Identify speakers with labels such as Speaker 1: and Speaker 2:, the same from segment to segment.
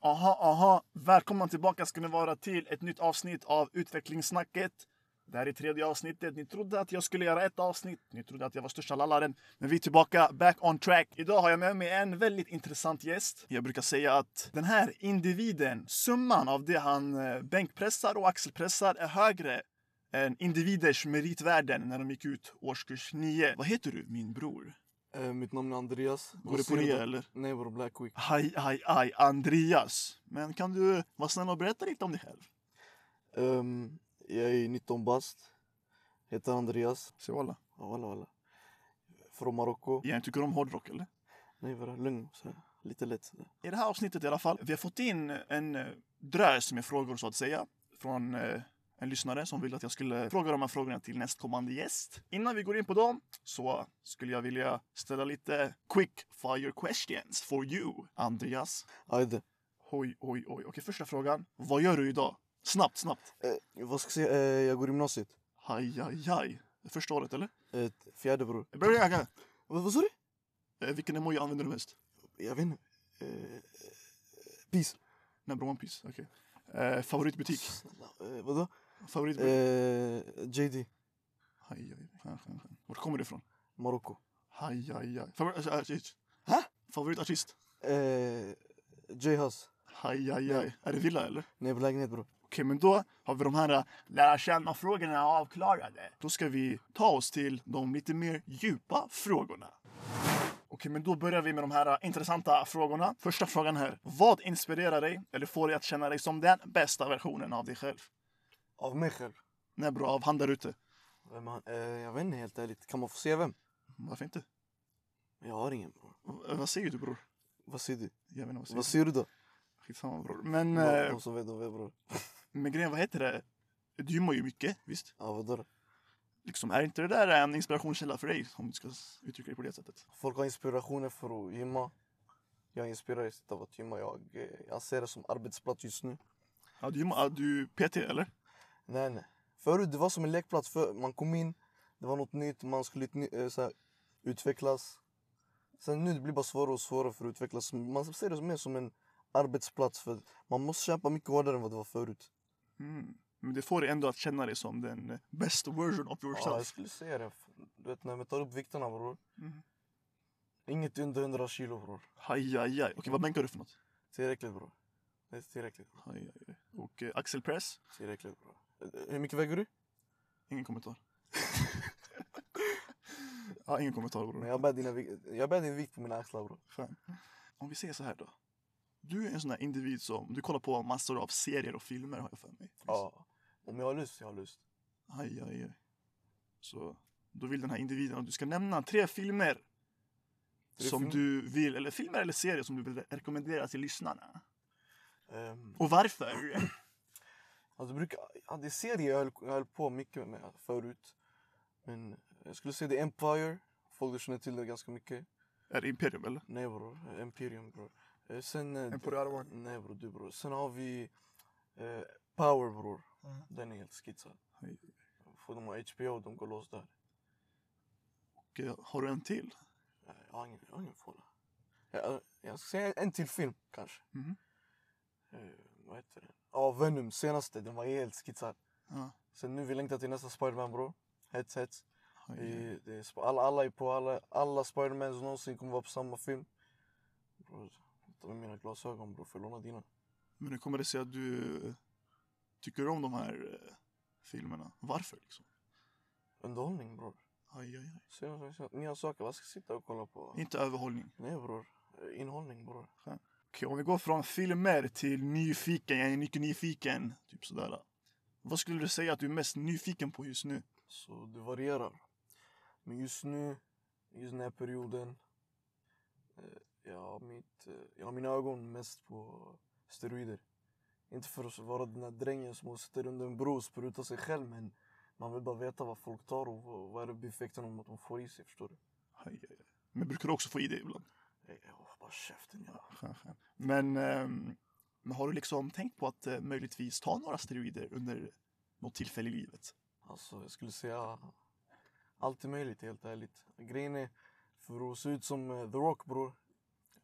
Speaker 1: Aha, aha. Välkomna tillbaka ska ni vara till ett nytt avsnitt av Utvecklingssnacket. Det här är tredje avsnittet. Ni trodde att jag skulle göra ett avsnitt. Ni trodde att jag var största lallaren. Men vi är tillbaka, back on track. Idag har jag med mig en väldigt intressant gäst. Jag brukar säga att den här individen, summan av det han eh, bänkpressar och axelpressar är högre än individers meritvärden när de gick ut årskurs 9. Vad heter du, min bror?
Speaker 2: Eh, mitt namn är Andreas.
Speaker 1: Går det
Speaker 2: Vad
Speaker 1: på
Speaker 2: säger
Speaker 1: rea
Speaker 2: du?
Speaker 1: eller?
Speaker 2: Nej bror, Black Week.
Speaker 1: Aj, aj, aj, Andreas. Men kan du vara snäll och berätta lite om dig själv?
Speaker 2: Ehm, jag är 19 bast. Heter Andreas.
Speaker 1: Se walla.
Speaker 2: Ja, Walla walla. Från Marocko.
Speaker 1: Jag tycker om hårdrock eller?
Speaker 2: Nej bara lugn. Så här. Lite lätt. sådär.
Speaker 1: I det här avsnittet i alla fall, vi har fått in en eh, drös med frågor så att säga. Från eh, en lyssnare som ville att jag skulle fråga de här frågorna till nästkommande gäst. Innan vi går in på dem så skulle jag vilja ställa lite quick fire questions for you, Andreas.
Speaker 2: Ajde.
Speaker 1: Oj, oj, oj. Okej, första frågan. Vad gör du idag? Snabbt, snabbt.
Speaker 2: Eh, vad ska jag säga? Eh, jag går gymnasiet.
Speaker 1: Aj, aj, aj. Första året eller?
Speaker 2: Eh, fjärde bror.
Speaker 1: Bra,
Speaker 2: Vad vad sa du?
Speaker 1: Eh, Vilken emoji använder du mest?
Speaker 2: Jag vet inte. Eh, eh, peace.
Speaker 1: Nej, Bromma Piss. Okej. Eh, favoritbutik?
Speaker 2: Snälla. Eh, vadå?
Speaker 1: Favoritbutik?
Speaker 2: Eh, JD.
Speaker 1: Aj, aj, aj, aj, aj. Vart kommer du ifrån?
Speaker 2: Marocko.
Speaker 1: Aj, aj, aj. Favoritartist?
Speaker 2: Ha?
Speaker 1: alltså, Favoritartist?
Speaker 2: Eh, J-Hus.
Speaker 1: Aj, aj, aj. Är det Villa eller?
Speaker 2: Nej, på lägenhet bror.
Speaker 1: Okej, men då har vi de här eh, lära känna-frågorna avklarade. Då ska vi ta oss till de lite mer djupa frågorna. Okej, men då börjar vi med de här eh, intressanta frågorna. Första frågan här. Vad inspirerar dig eller får dig att känna dig som den bästa versionen av dig själv?
Speaker 2: Av mig själv.
Speaker 1: Nej, bra. Av han där ute.
Speaker 2: Vem han? Eh, jag vet inte helt ärligt. Kan man få se vem?
Speaker 1: Varför inte?
Speaker 2: Jag har ingen bror.
Speaker 1: V- vad säger du bror?
Speaker 2: Vad säger du?
Speaker 1: Jag vet inte vad säger
Speaker 2: Vad säger du då?
Speaker 1: Skitsamma bror. Men,
Speaker 2: De,
Speaker 1: eh,
Speaker 2: de som vet, de vet bror.
Speaker 1: men grejen, vad heter det? Du gymmar ju mycket, visst?
Speaker 2: Ja, vadå då?
Speaker 1: Liksom, är inte det där en inspirationskälla för dig? Om du ska s- uttrycka det på det sättet.
Speaker 2: Folk har inspirationer för att gymma. Jag inspireras av att gymma. Jag, eh, jag ser det som arbetsplats just nu.
Speaker 1: Ja, du gymmar, ja, du PT eller?
Speaker 2: Nej, nej. Förut det var som en lekplats. För man kom in, det var något nytt, man skulle ut, eh, så här, utvecklas. Sen nu det blir bara svårare och svårare för att utvecklas. Man ser det mer som en arbetsplats. för Man måste kämpa mycket hårdare än vad det var förut.
Speaker 1: Mm. Men det får dig ändå att känna dig som den eh, best version of
Speaker 2: Ja, jag
Speaker 1: yourself.
Speaker 2: skulle säga det. Du vet, när man tar upp vikterna, bror.
Speaker 1: Mm.
Speaker 2: Inget under 100 kilo, bror.
Speaker 1: Aj, aj, aj. Okej, vad bänkar du för något?
Speaker 2: Tillräckligt, bror. Det är tillräckligt. bror.
Speaker 1: Aj, aj, aj. Och eh, axelpress?
Speaker 2: Tillräckligt bra. Eh, Hur mycket väger du?
Speaker 1: Ingen kommentar. ja, ingen kommentar bror.
Speaker 2: Men jag, bär dina, vik- jag bär din vikt på mina axlar bror.
Speaker 1: Fan. Om vi säger så här då. Du är en sån här individ som, du kollar på massor av serier och filmer har jag för mig.
Speaker 2: Ja. Om jag har lust, jag har lust.
Speaker 1: Aj, aj, aj. Så då vill den här individen att du ska nämna tre filmer
Speaker 2: Tre
Speaker 1: som
Speaker 2: filmer?
Speaker 1: du vill, eller filmer eller serier som du vill rekommendera till lyssnarna.
Speaker 2: Um,
Speaker 1: Och varför?
Speaker 2: alltså, brukar, ja, det är serier jag höll, jag höll på mycket med förut. Men jag skulle säga The Empire. Folk känner till det ganska mycket.
Speaker 1: är det Imperium eller?
Speaker 2: Nej bror, Imperium bror. Eh, Sen... eh,
Speaker 1: Emperor One.
Speaker 2: Nej bror, du bror. Sen har vi eh, Power bror. Den är helt skitsad.
Speaker 1: Aj.
Speaker 2: För de har HBO, de går loss där.
Speaker 1: Och, eh, har du en till?
Speaker 2: Nej, Jag har ingen, jag har ingen fålla. Jag, jag ska säga en till film kanske.
Speaker 1: Mhm.
Speaker 2: Eh, vad heter den? Ja, Venom senaste. Den var helt skitsad.
Speaker 1: Ja.
Speaker 2: Sen nu vi längtar till nästa Spiderman bror. Hets hets.
Speaker 1: Aj,
Speaker 2: Eh,
Speaker 1: aj.
Speaker 2: det är sp- alla, alla är på. Alla, alla Spidermans någonsin kommer vara på samma film. Bror, ta med mina glasögon bror. Får jag låna dina?
Speaker 1: Men hur kommer det sig att du eh, tycker om de här eh, filmerna? Varför liksom?
Speaker 2: Underhållning bror.
Speaker 1: Aj, aj, aj.
Speaker 2: Se vad som- nya saker. Vad ska jag sitta och kolla på?
Speaker 1: Inte överhållning.
Speaker 2: Nej bror. Eh, Inhållning bror.
Speaker 1: Okej, om vi går från filmer till nyfiken, jag är mycket nyfiken. Typ sådär. Vad skulle du säga att du är mest nyfiken på just nu?
Speaker 2: Så det varierar. Men just nu, just den här perioden, eh, jag har, mitt, eh, jag har mina ögon mest på steroider. Inte för att vara den där drängen som sitter under en bro och sprutar sig själv men man vill bara veta vad folk tar och vad, vad är det bieffekten om att de får i sig, förstår du?
Speaker 1: Aj, aj, aj. Men brukar du också få i dig ibland?
Speaker 2: Eh, åh, bara käften ja.
Speaker 1: Skön, skön. Men, ehm, men har du liksom tänkt på att eh, möjligtvis ta några steroider under något tillfälle i livet?
Speaker 2: Alltså jag skulle säga allt är möjligt helt ärligt. Grejen är, för att se ut som eh, The Rock bror,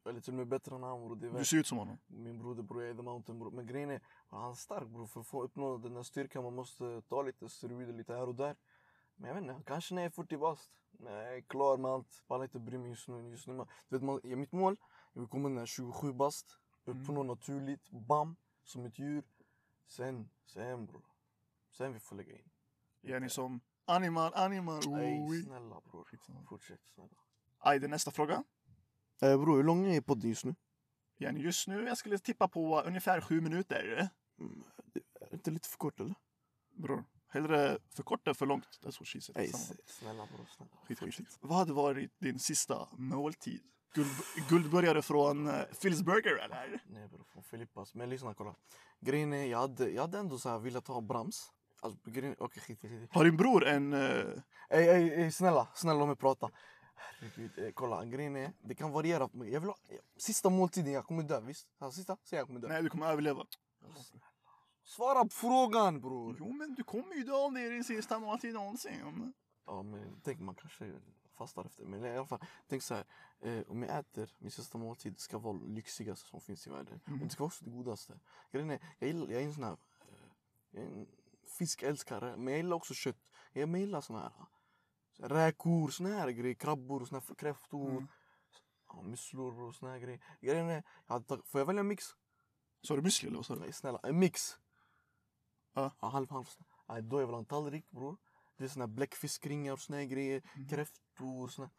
Speaker 2: Eller till och med bättre än han bror. Det är
Speaker 1: Du
Speaker 2: värt.
Speaker 1: ser ut som honom.
Speaker 2: Min broder bror, jag är the mountain bror. Men grejen är, han är stark bror. För att få uppnå den här styrkan man måste ta lite steroider lite här och där. Men jag vet inte, kanske när jag är 40 bast. När jag är klar med allt. Pallar inte bry mig just nu. Just nu man, du vet, man, ja, mitt mål, jag vill komma när jag är 27 bast. Uppnå naturligt, bam, som ett djur. Sen, sen bror. Sen vi får lägga in.
Speaker 1: Är ni som animal, animal.
Speaker 2: Nej,
Speaker 1: oi.
Speaker 2: snälla bror.
Speaker 1: Skitsamma.
Speaker 2: Fortsätt snälla.
Speaker 1: Aj, det är nästa fråga.
Speaker 2: Eh, bror, hur lång är podden just nu?
Speaker 1: Är ni just nu, jag skulle tippa på ungefär sju minuter.
Speaker 2: Mm, det är inte lite för kort eller?
Speaker 1: Bror, hellre för kort än för långt. That's what she said.
Speaker 2: Nej,
Speaker 1: Samma.
Speaker 2: snälla bror, snälla.
Speaker 1: Skit, skit, skit. Vad hade varit din sista måltid? Guld, guldburgare från uh, Phil's Burger eller?
Speaker 2: Nej bror, från Filippas. Men lyssna kolla. Grejen är, jag hade, jag hade ändå så här velat ha Brams. Alltså grejen, okej skit i det.
Speaker 1: Har din bror en... eh,
Speaker 2: Ey, ey, ey, snälla, snälla låt mig prata. Herregud, eh, kolla grejen är, det kan variera. Men Jag vill ha, eh, sista måltiden, jag kommer dö visst? Alltså, sista, säg jag kommer dö.
Speaker 1: nej, du kommer överleva.
Speaker 2: Svara på frågan bror!
Speaker 1: Jo, men du kommer ju dö om det är din sista måltid någonsin.
Speaker 2: Ja men tänk man kanske fastar efter. Men i alla fall, tänk så här. Eh, om jag äter, min sista måltid ska vara lyxigaste som finns i världen. Och det ska vara också det godaste. Grejen är, jag, gillar, jag är en sån här... Eh, jag är en fiskälskare, men jag gillar också kött. Jag men jag gillar såna här... så här Räkor, såna här grejer. Krabbor, såna här kräftor.
Speaker 1: Mm.
Speaker 2: Ja, musslor och såna här grejer. Grejen är, jag hade, tagit- får jag välja en mix?
Speaker 1: Sa du müsli eller vad sa du?
Speaker 2: Nej, snälla, en mix.
Speaker 1: Ja.
Speaker 2: halv halv. Nej, då är väl en tallrik bror. Det är såna här bläckfiskringar och såna här grejer.
Speaker 1: Mhm.
Speaker 2: Kräftor och såna.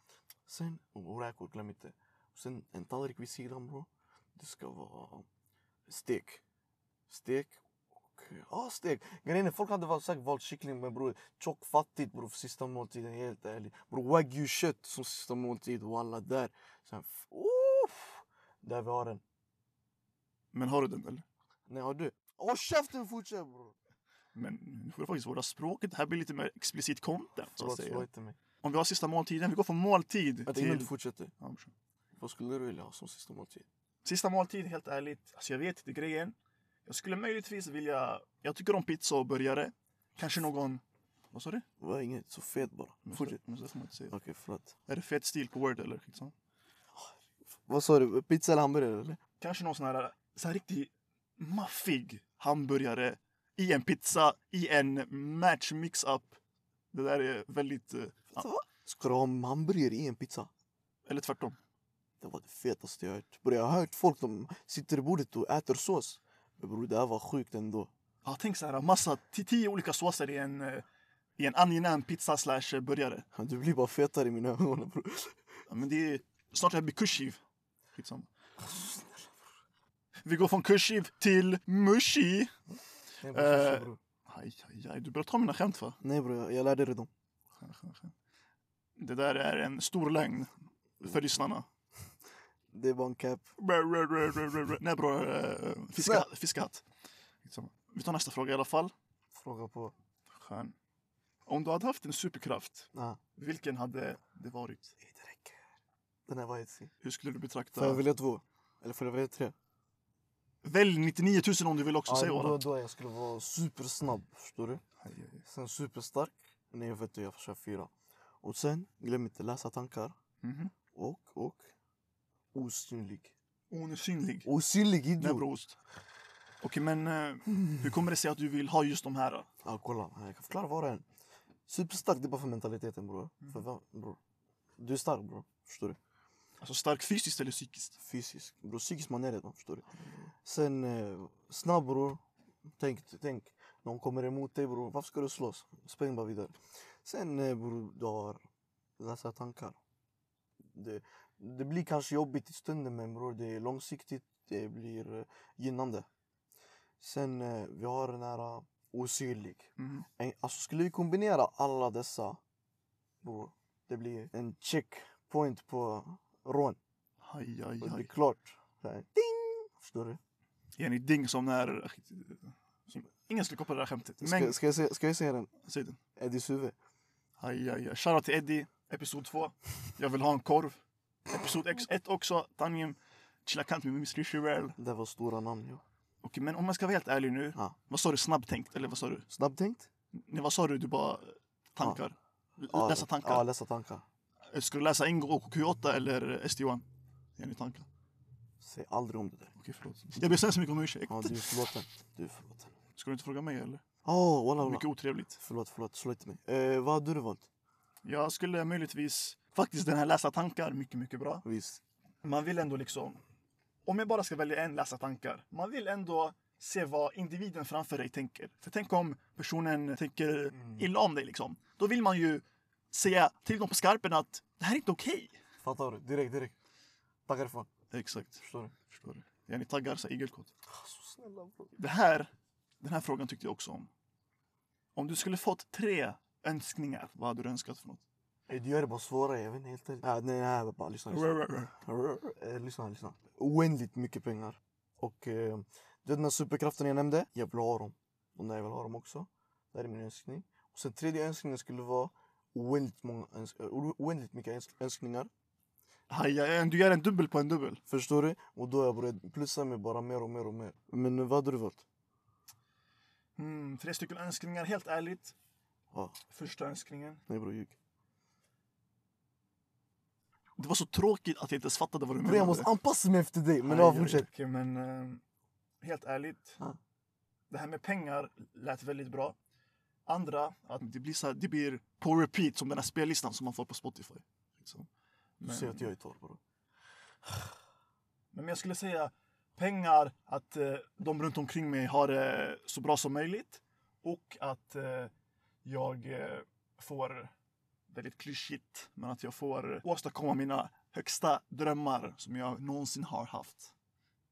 Speaker 2: Sen, och räkor glöm inte. Och sen en tallrik vid sidan bror. Det ska vara stek. Stek och, ja stek. Grejen är folk hade väl sagt valt kyckling men bror tjock fattigt bror för sista måltiden helt ärligt. Bror wagyu kött som sista måltid och alla där. Sen, f- uff, där vi har den.
Speaker 1: Men har du den eller?
Speaker 2: Nej har du? Håll käften fortsätt bror!
Speaker 1: Men nu får du faktiskt vårda språket. Det här blir lite mer explicit content. Så att
Speaker 2: Förlåt, slå
Speaker 1: säga.
Speaker 2: inte mig.
Speaker 1: Om vi har sista måltiden, vi går från måltid
Speaker 2: Vänta, innan du
Speaker 1: till...
Speaker 2: fortsätter.
Speaker 1: Ja, brorsan.
Speaker 2: Vad skulle du vilja ha som sista måltid?
Speaker 1: Sista måltid, helt ärligt. Alltså jag vet inte grejen. Jag skulle möjligtvis vilja... Jag tycker om pizza och burgare. Kanske någon... Vad sa du?
Speaker 2: Det var inget, så fet bara. Fortsätt.
Speaker 1: Men så får man inte säga.
Speaker 2: Okej, förlåt.
Speaker 1: Är det fet stil på word eller? Liksom?
Speaker 2: Vad sa du? Pizza eller hamburgare eller?
Speaker 1: Kanske någon sån här, så här riktigt maffig hamburgare i en pizza, i en match mix-up. Det där är väldigt... eh, Ja,
Speaker 2: Ja. Ska du ha en hamburgare i en pizza?
Speaker 1: eller tvärtom.
Speaker 2: Det var det fetaste jag hört. Bror jag har hört folk de sitter i bordet och äter sås. Men bror det här var sjukt ändå.
Speaker 1: Ja, tänk så här, massa, ti- tio olika såser i en, eh, i en angenäm pizza slash burgare.
Speaker 2: Du blir bara fetare i mina ögon bror.
Speaker 1: Ja, men det är snart jag blir kursiv. Skitsamma. Vi går från kursiv till mushi.
Speaker 2: Nej
Speaker 1: Eh.
Speaker 2: bror.
Speaker 1: Aj, aj, aj. Du börjar ta mina skämt va?
Speaker 2: Nej bror, jag, jag lärde dig dem.
Speaker 1: Det där är en stor lögn för lyssnarna.
Speaker 2: Det är bara en cap.
Speaker 1: Nej bror, eh, fiska, fiskahatt. Skitsamma. Vi tar nästa fråga i alla fall.
Speaker 2: Fråga på.
Speaker 1: Skön. Om du hade haft en superkraft,
Speaker 2: Ah.
Speaker 1: vilken hade det varit?
Speaker 2: Det räcker. Den här var hetsig.
Speaker 1: Hur skulle du
Speaker 2: Får jag
Speaker 1: betrakta...
Speaker 2: välja två? Eller får jag välja tre?
Speaker 1: Välj 99 000 om du vill också,
Speaker 2: Ja,
Speaker 1: säg
Speaker 2: då,
Speaker 1: våra.
Speaker 2: då jag skulle vara supersnabb, förstår du? Sen superstark. Nej, jag vet du, jag försöker fyra. Och sen, glöm inte läsa tankar.
Speaker 1: Mhm.
Speaker 2: Och, och. Osynlig.
Speaker 1: Osynlig.
Speaker 2: Osynlig
Speaker 1: Nej
Speaker 2: idiot!
Speaker 1: bror, ost. Okej men eh, hur kommer det sig att du vill ha just de här?
Speaker 2: Ja, kolla. Jag kan förklara var och en. Superstark, det är bara för mentaliteten bror. För vem, bror? Du är stark bror, förstår du?
Speaker 1: Alltså stark fysiskt eller psykiskt?
Speaker 2: Fysisk. Bror, psykiskt man är redan, förstår du? Sen, eh, snabb bror. Tänk, tänk. Någon kommer emot dig bror, varför ska du slåss? Spring bara vidare. Sen eh, bror, du har läsa tankar. Det, det blir kanske jobbigt i stunden men bror, det är långsiktigt, det blir eh, gynnande. Sen eh, vi har den här eh, osynlig.
Speaker 1: Mhm.
Speaker 2: En, alltså skulle vi kombinera alla dessa, bror, det blir en checkpoint på rån.
Speaker 1: Aj, aj,
Speaker 2: Och Det är
Speaker 1: aj.
Speaker 2: klart. Så här, ding! Förstår du?
Speaker 1: Är ni ding som när... som- Ingen skulle koppla det där skämtet. Men,
Speaker 2: Ska, ska, jag, se- ska jag säga den?
Speaker 1: säg den.
Speaker 2: Eddies huvud.
Speaker 1: Aj, aj, aj. Shoutout till Eddie, episod 2. Jag vill ha en korv. Episod 1 också, Tanjim. Chilla kant med Mr. Shirel.
Speaker 2: Det var stora namn. Ja.
Speaker 1: Okej, men om man ska vara helt ärlig nu.
Speaker 2: Ja.
Speaker 1: Vad sa du? Snabbtänkt? Eller vad sa du?
Speaker 2: Snabbtänkt?
Speaker 1: Nej, vad sa du? Du bara... eh, Tankar?
Speaker 2: Ja,
Speaker 1: Läsa tankar? Eh,
Speaker 2: Ja, läsa tankar.
Speaker 1: Ska du läsa Ingo och Q8 eller SD1? Är eh, ni tankar?
Speaker 2: Säg aldrig om det där.
Speaker 1: Okej, förlåt. Jag ber så hemskt mycket om ursäkt.
Speaker 2: Ja, du är förlåten. Du är förlåten.
Speaker 1: Ska du inte fråga mig eller?
Speaker 2: Åh, oh, walla walla.
Speaker 1: Mycket otrevligt.
Speaker 2: Förlåt, förlåt. Slå inte mig. Eh, vad hade du valt?
Speaker 1: Jag skulle möjligtvis, faktiskt den här läsa tankar, mycket, mycket bra.
Speaker 2: Visst.
Speaker 1: Man vill ändå liksom, om jag bara ska välja en läsa tankar, man vill ändå se vad individen framför dig tänker. För tänk om personen tänker illa om dig liksom. Då vill man ju säga till dem på skarpen att det här är inte okej.
Speaker 2: Fattar du? Direkt, direkt. Tackar fan.
Speaker 1: Exakt.
Speaker 2: Förstår du?
Speaker 1: Förstår du? Ja, ni taggar så här, igelkott.
Speaker 2: Så snälla bror.
Speaker 1: Det här, den här frågan tyckte jag också om. Om du skulle fått tre önskningar, vad hade du önskat för något?
Speaker 2: Eh, Du gör det bara svårare, jag vet inte helt ärligt. Ah, nej, nej, bara lyssna. lyssna. Eh, lyssna, lyssna. Oändligt mycket pengar. Och eh, du vet den här superkraften jag nämnde? Jag vill ha dem. Och när jag vill ha dem också. Det här är min önskning. Och sen tredje önskningen skulle vara oändligt, många öns- eh, o- oändligt mycket öns- önskningar.
Speaker 1: Aj, aj, aj, du gör en dubbel på en dubbel.
Speaker 2: Förstår du? Och då har jag börjat plussa mig bara mer och mer och mer. Men eh, vad hade du valt?
Speaker 1: Mm, tre stycken önskningar, helt ärligt.
Speaker 2: Ah,
Speaker 1: Första önskningen.
Speaker 2: nej bror, ljug.
Speaker 1: Det var så tråkigt att jag inte ens fattade vad du
Speaker 2: Bror
Speaker 1: menade.
Speaker 2: jag måste anpassa mig efter dig. Men
Speaker 1: Aj,
Speaker 2: ja,
Speaker 1: aj,
Speaker 2: fortsätt.
Speaker 1: Okej, men eh, helt ärligt.
Speaker 2: Ja.
Speaker 1: Det här med pengar lät väldigt bra. Andra, att det blir, så här, det blir på repeat som den här spellistan som man får på Spotify. Liksom.
Speaker 2: Du
Speaker 1: Men-
Speaker 2: ser att jag är torr bror.
Speaker 1: Men jag skulle säga pengar, att eh, de runt omkring mig har det så bra som möjligt. Och att eh, jag eh, får, väldigt klyschigt, men att jag får åstadkomma mina högsta drömmar som jag någonsin har haft.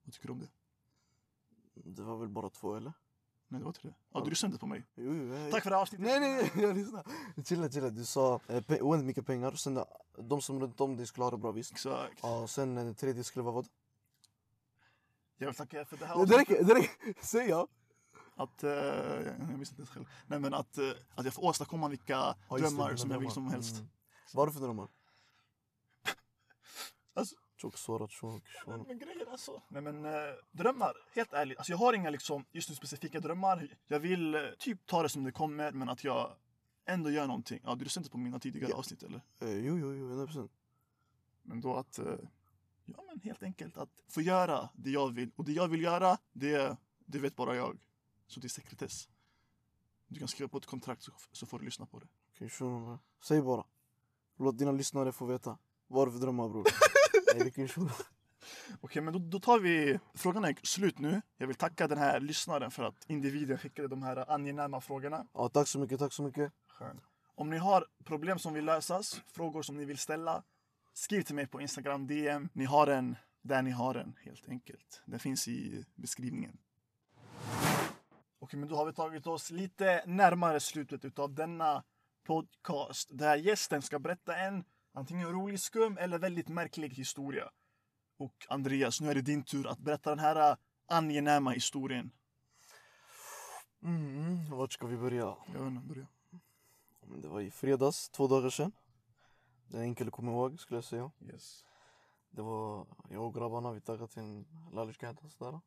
Speaker 1: Vad tycker du om det?
Speaker 2: Det var väl bara två eller?
Speaker 1: Nej, det var inte det. Ja, du lyssnade inte på mig.
Speaker 2: Jo, jo, jag-
Speaker 1: Tack för det här avsnittet.
Speaker 2: Nej, nej, nej, jag lyssnar. Chilla, chilla. Du sa eh, pe- oändligt mycket pengar. Sen eh, de som runt om dig skulle ha det bra, visst?
Speaker 1: Exakt.
Speaker 2: Ja, och sen eh, det tredje skulle vara vad?
Speaker 1: Jag vill tacka er för det här
Speaker 2: Ja, det räcker, det räcker. Säg ja.
Speaker 1: Att, eh, jag visste inte ens själv. Nej, men att, eh, att jag får åstadkomma vilka
Speaker 2: Ja, just det,
Speaker 1: drömmar
Speaker 2: dina
Speaker 1: som jag vill
Speaker 2: drömmar.
Speaker 1: som helst.
Speaker 2: Mm. Vad har du för drömmar?
Speaker 1: Alltså-
Speaker 2: Tjock, sårad, tjock, tjock.
Speaker 1: Men grejer alltså. Nej men eh, drömmar, helt ärligt. Alltså jag har inga liksom just nu specifika drömmar. Jag vill eh, typ ta det som det kommer men att jag ändå gör någonting. Ja, du lyssnade inte på mina tidigare
Speaker 2: Ja.
Speaker 1: avsnitt eller?
Speaker 2: Eh, jo, jo, jo, 100 procent.
Speaker 1: Men då att, eh, ja men helt enkelt att få göra det jag vill. Och det jag vill göra, det, det vet bara jag. Så det är sekretess. Du kan skriva på ett kontrakt så, så får du lyssna på det.
Speaker 2: Okej, shunon bra. Säg bara. Låt dina lyssnare få veta. Vad har du för drömmar, bror? Nej, vilken shunon.
Speaker 1: Okej, men då, då tar vi... Frågan är slut nu. Jag vill tacka den här lyssnaren för att individen skickade de här angenäma frågorna.
Speaker 2: Ja, tack så mycket, tack så mycket.
Speaker 1: Om ni har problem som vill lösas, frågor som ni vill ställa, skriv till mig på Instagram DM. Ni har den där ni har den helt enkelt. Den finns i beskrivningen. Okej, men då har vi tagit oss lite närmare slutet utav denna podcast där gästen ska berätta en antingen rolig, skum eller väldigt märklig historia. Och Andreas, nu är det din tur att berätta den här äh, angenäma historien.
Speaker 2: Mm, vart ska vi börja?
Speaker 1: Jag vet inte, börja.
Speaker 2: Ja, men Det var i fredags, två dagar sedan. Det är enkelt att komma ihåg skulle jag säga.
Speaker 1: Yes.
Speaker 2: Det var jag och grabbarna, vi taggade till en lalishgata och sådär.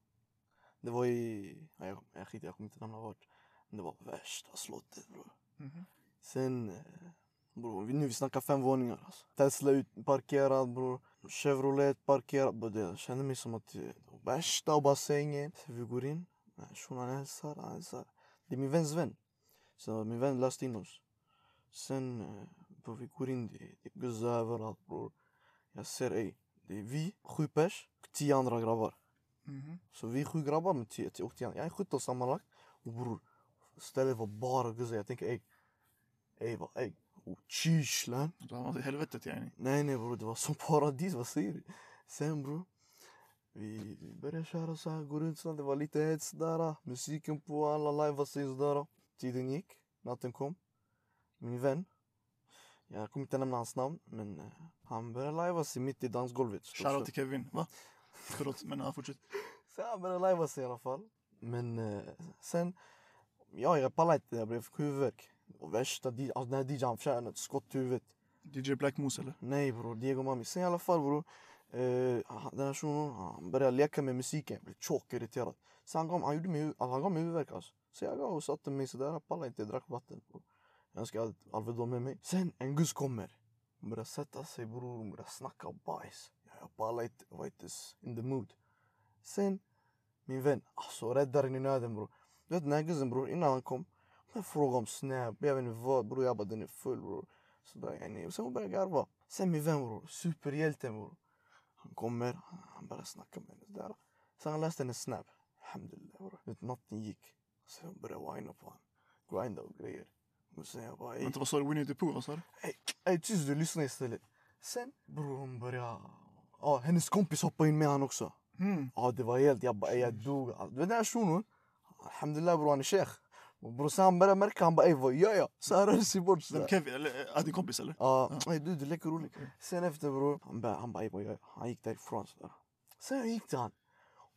Speaker 2: Det var i... Nej, jag, jag skiter jag kommer inte nämna vart. Men det var värsta slottet bror.
Speaker 1: Mhm.
Speaker 2: Sen... eh, Bror, vi- nu vi snackar fem våningar alltså. Tesla ut, parkerad bror. Chevrolet parkerad. Bror, det- jag kände mig som att... eh, Värsta bassängen. Så vi går in. Nej, Shunon hälsar, han hälsar. Det är min väns vän. Så min vän löste in oss. Sen, eh, bror vi går in. Det det är guzzar överallt bror. Jag ser ej. Det är vi, sju pers och tio andra grabbar.
Speaker 1: Mhm.
Speaker 2: Så vi är sju grabbar med tio, tio och tio andra. Jag är 17 sammanlagt. Och bror, stället var bara guzzar. Jag tänker ej. Ej vad ej. Och kyschlan.
Speaker 1: Då har man helvetet yani.
Speaker 2: Nej nej bror, det var som paradis. Vad säger du? Sen bror. Vi, vi började köra så här, gå runt så här. Det var lite hets där. ah. Musiken på, alla live och sådär. ah. Tiden gick, natten kom. Min vän. Jag kommer inte nämna hans namn, men eh, han började lajva sig mitt i dansgolvet. Så-
Speaker 1: Shoutout till Kevin. Va? Förlåt, men ja, fortsätt.
Speaker 2: Så han började lajva sig i alla fall. Men eh, sen, ja jag pallade inte, jag blev huvudvärk. Och värsta, di- alltså den här DJn han förtjänade ett skott i huvudet.
Speaker 1: DJ Black Moose eller?
Speaker 2: Nej bror, Diego Mami. Sen i alla fall bror, eh, han- den här shunon han började leka med musiken. Jag blev tjock irriterad. Så han gav, han gjorde mig, hu- alltså, han gav mig huvudvärk alltså. Så jag gav och satte mig sådär, jag pallade inte, jag drack vatten. Bror. Jag önskar att Alvedon med mig. Sen en guss kommer. Hon börjar sätta sig bror, hon börjar snacka bajs. Jag jag pallar inte, jag var inte ens يعني in the mood. Sen, min vän, alltså räddaren i nöden bror. Du vet den här guzzen bror, innan han kom, han frågade om Snap, jag vet inte vad bror, jag bara den är full bror. Så där, yani. Och sen hon började garva. Sen min vän bror, superhjälten bror. Han kommer, han börjar snacka med henne sådär. Sen han läste hennes Snap. Alhamdulillah bror. Du vet natten gick. Sen hon började whina på honom. Grinda och grejer. Och sen jag bara ey.
Speaker 1: Vänta, vad sa du? Winnie the Pooh? Vad sa du?
Speaker 2: Ey tyst du, lyssna istället. Sen bror hon började... Ja, hennes kompis hoppade in med han också.
Speaker 1: Mm.
Speaker 2: Ja det var helt, jag bara ey, jag dog. Du vet den här shunon? Alhamdulillah hani bror han är sheikh. Och bror sen han började märka, han bara ey vad gör jag? Så Mm-hmm. han rör sig bort
Speaker 1: Vem,
Speaker 2: sådär.
Speaker 1: Kevin? Eller, äh, din kompis eller?
Speaker 2: Ja, ey du du leker rolig. Sen efter bror, han bara han bara ey vad gör jag? Han gick därifrån sådär. Sen jag gick till han.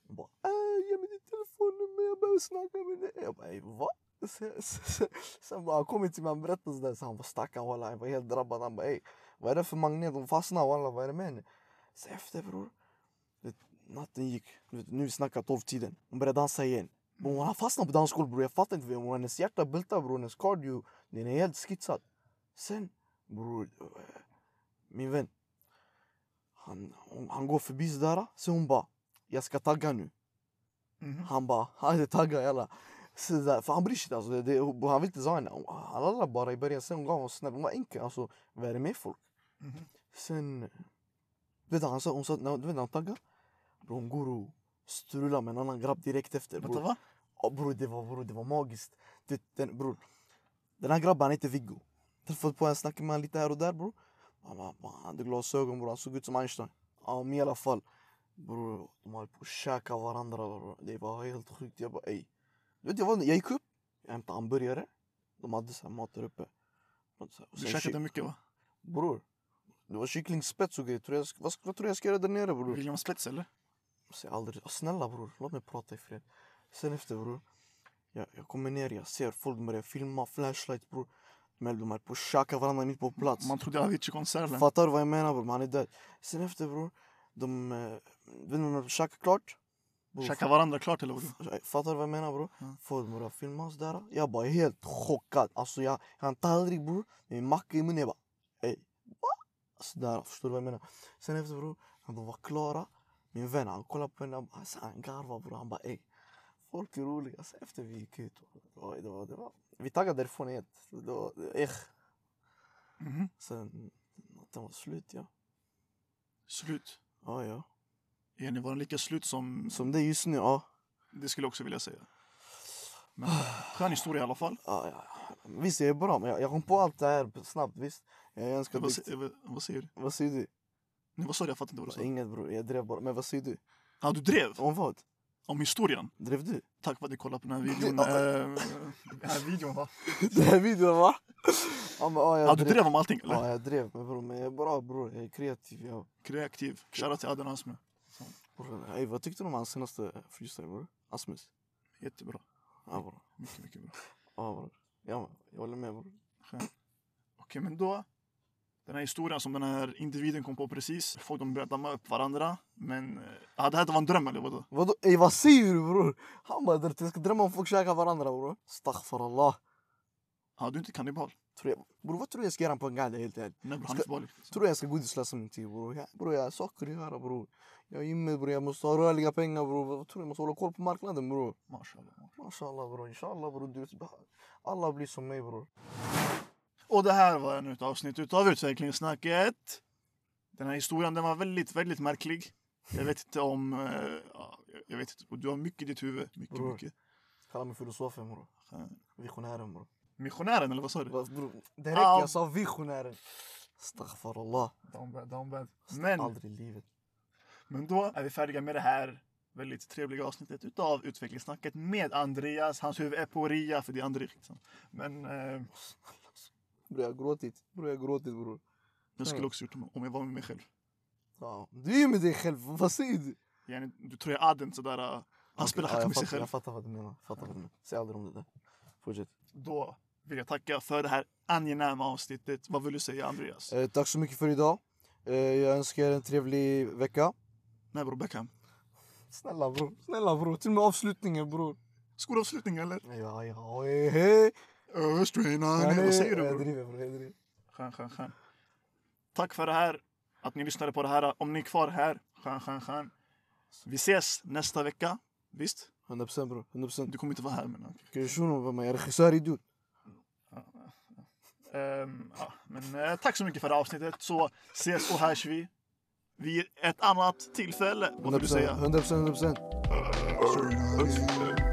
Speaker 2: Hon bara ey ge mig din telefonnummer, jag behöver snacka med dig. Jag bara ey va? Sen- sen- Sen bara han kom till mig, han berättade sådär. Så han bara stackarn walla, han var helt drabbad. Han bara ey vad är det för magnet? Hon fastnar walla, vad är det med henne? Sen efter bror, du vet, natten gick. Du vet, nu vi snackar tolvtiden. Hon började dansa igen. Men hon fastnade på dansgolvet bror, jag fattar inte. Hon, hennes hjärta bultar bror, hennes cardio, den är helt skitsad. Sen bror, eh, min vän. Han, hon, han går förbi sådär, så hon bara, jag ska tagga nu.
Speaker 1: Mhm.
Speaker 2: Han bara, han är taggad jalla. Så där, för han bryr sig inte alltså, det, det, han vill inte säga henne. Han lallade bara i början, sen hon gav honom snäll. Hon var enkel alltså, vad är det med folk?
Speaker 1: Mhm.
Speaker 2: Sen, du vet han sa, hon sa, när- du vet när hon taggar? Bror hon går och strular med en annan grabb direkt efter.
Speaker 1: Vänta,
Speaker 2: Bror.
Speaker 1: va?
Speaker 2: Ja bror det var, bror, det var magiskt. Det, den, bror. den här grabben han heter Viggo. Träffat på honom, snackat med honom lite här och där bror. Han, var- han hade glasögon bror, han såg ut som Einstein. Ja men i alla fall. Bror de höll på att käka varandra bror. Det var helt sjukt. Jag bara ey. Du vet jag, var, jag gick upp, jag hämtade hamburgare. De hade så här mat där uppe. Och så här- och
Speaker 1: Du
Speaker 2: sen
Speaker 1: käkade
Speaker 2: kyck-
Speaker 1: mycket va?
Speaker 2: Bror. Det var kycklingspets och grejer. Tror jag, vad, vad tror du jag ska göra där nere bror?
Speaker 1: William Spets eller?
Speaker 2: Säg Alltså, aldrig, "Åh, snälla bror, låt mig prata i fred. Sen efter bror, jag, jag kommer ner, jag ser folk börjar filma, flashlight bror. Men de är på att tjacka varandra mitt på plats.
Speaker 1: Man trodde Avicii-konsert eller?
Speaker 2: Fattar du vad jag menar bror? Man är död. Sen efter bror, de, eh, vet ni när de tjackar klart? Bror,
Speaker 1: Käka varandra klart eller vadå?
Speaker 2: f- Fattar du vad jag menar bror?
Speaker 1: Ja.
Speaker 2: Folk börjar filma och sådär. Jag bara helt chockad. Alltså jag, jag har en tallrik bror, med en macka i munnen. Jag bara, ey, va? Sådär, förstår du vad jag menar? Sen efter bror, när de var klara, min vän han kollade på henne, han bara- alltså, han garvade bror, han bara ey. Folk är roliga. Sen efter vi gick ut, oj, det var, det var, vi taggade därifrån helt. Det var, eh.
Speaker 1: Mhm.
Speaker 2: Sen, natten var slut ja.
Speaker 1: Slut.
Speaker 2: Ja, ja.
Speaker 1: Är ni var lika slut som...
Speaker 2: Som det är just nu, ja.
Speaker 1: Det skulle jag också vilja säga. Men skön historia i alla fall.
Speaker 2: ja, ja. Visst, jag är bra, men jag, jag kom på allt det här snabbt, visst. Jag önskar
Speaker 1: Vad,
Speaker 2: dikt.
Speaker 1: se- vad, vad säger du?
Speaker 2: Vad säger du?
Speaker 1: Nej, vad sa du? Jag fattar inte vad du sa.
Speaker 2: Inget bror, jag drev bara. Men vad säger du?
Speaker 1: Ja, du drev
Speaker 2: Om vad?
Speaker 1: om historien.
Speaker 2: Drev du?
Speaker 1: Tack för att du kollade på den här videon.
Speaker 2: Ja.
Speaker 1: eh, den här videon va?
Speaker 2: Den här videon va? Ja, men, ja, jag
Speaker 1: Ja, du drev om allting eller?
Speaker 2: Ja, jag drev. Men bror, men jag är bra bror. Jag är kreativ. Jag...
Speaker 1: Kreativ. Shoutout till Adnan Asmi.
Speaker 2: Bror, ey, vad tyckte du om hans senaste freestyle bror? Asmus?
Speaker 1: Jättebra.
Speaker 2: Ja bror.
Speaker 1: Mycket, mycket bra.
Speaker 2: Ja bror. Ja, men, jag håller med bror.
Speaker 1: Okej, men då. Den här historien som den här individen kom på precis. Folk de började damma upp varandra. Men eh, ja, det här var en dröm eller vadå?
Speaker 2: Vadå? Ey, vad säger du bror? Han bara, "Där- jag ska drömma om folk käkar varandra bror. Astaghfirullah.
Speaker 1: Ja, Ah, du är inte kannibal.
Speaker 2: Tror jag... Bror, vad tror du jag ska göra på en galla helt ärligt?
Speaker 1: Nej, bror, han är inte balik.
Speaker 2: Tror du jag ska godisläsa min tid bror? Jag, bror jag har saker att göra bror. Jag är gymmet bror, jag måste ha rörliga pengar bror. Vad tror du? Jag måste hålla koll på marknaden bror.
Speaker 1: Mashallah.
Speaker 2: Mashallah bror, inshallah bror. Du, alla blir som mig bror.
Speaker 1: Och det här var ännu ett avsnitt utav Utvecklingssnacket. Den här historien den var väldigt, väldigt märklig. Jag vet inte om... eh, ja, jag vet inte. Och du har mycket i ditt huvud. Mycket,
Speaker 2: Bror.
Speaker 1: mycket.
Speaker 2: Kalla mig filosofen bror.
Speaker 1: Fan.
Speaker 2: Visionären bror.
Speaker 1: Missionären eller vad sa du?
Speaker 2: Va, bror, Det räcker,
Speaker 1: Ah.
Speaker 2: jag sa visionären. Astaghfirullah.
Speaker 1: Down bad, down bad. Men,
Speaker 2: Aldrig i livet.
Speaker 1: men då är vi färdiga med det här väldigt trevliga avsnittet utav Utvecklingssnacket med Andreas. Hans huvud är på ria för det är André. Liksom. Men eh,
Speaker 2: Bror jag har gråtit. Bror jag har gråtit bror.
Speaker 1: jag skulle
Speaker 2: Mm.
Speaker 1: också gjort det om jag var med mig själv.
Speaker 2: Ja. Du är med dig själv, vad säger du?
Speaker 1: Yani, du tror jag Aden sådär... eh, Han spelar
Speaker 2: Ja,
Speaker 1: hack
Speaker 2: jag
Speaker 1: med sig
Speaker 2: fattar-
Speaker 1: själv.
Speaker 2: Jag fattar vad du menar. Jag Fattar vad du menar. Säg aldrig om det där. Fortsätt.
Speaker 1: Då vill jag tacka för det här angenäma avsnittet. Vad vill du säga Andreas?
Speaker 2: Eh, tack så mycket för idag. Eh, jag önskar er en trevlig vecka.
Speaker 1: Nej bror Beckham.
Speaker 2: Snälla bror, snälla bror. Till och med avslutningen bror.
Speaker 1: Skolavslutning eller?
Speaker 2: Ja, ja, hej, hej.
Speaker 1: Östrena. Vad säger du
Speaker 2: Jag
Speaker 1: bror?
Speaker 2: driver bror, jag driver.
Speaker 1: Skön, skön, skön. Tack för det här att ni lyssnade på det här. Om ni är kvar här, stjärn, stjärn, stjärn. Vi ses nästa vecka. Visst?
Speaker 2: 100% bror, 100%.
Speaker 1: Du kommer inte vara här men... okej.
Speaker 2: Kan du shuno vem är regissör i dude?
Speaker 1: Ehm, ja, men eh, tack så mycket för det här avsnittet. Så ses och hörs vi vid ett annat tillfälle. Vad vill du
Speaker 2: 100%,
Speaker 1: säga?
Speaker 2: 100%, 100%.
Speaker 1: Puss.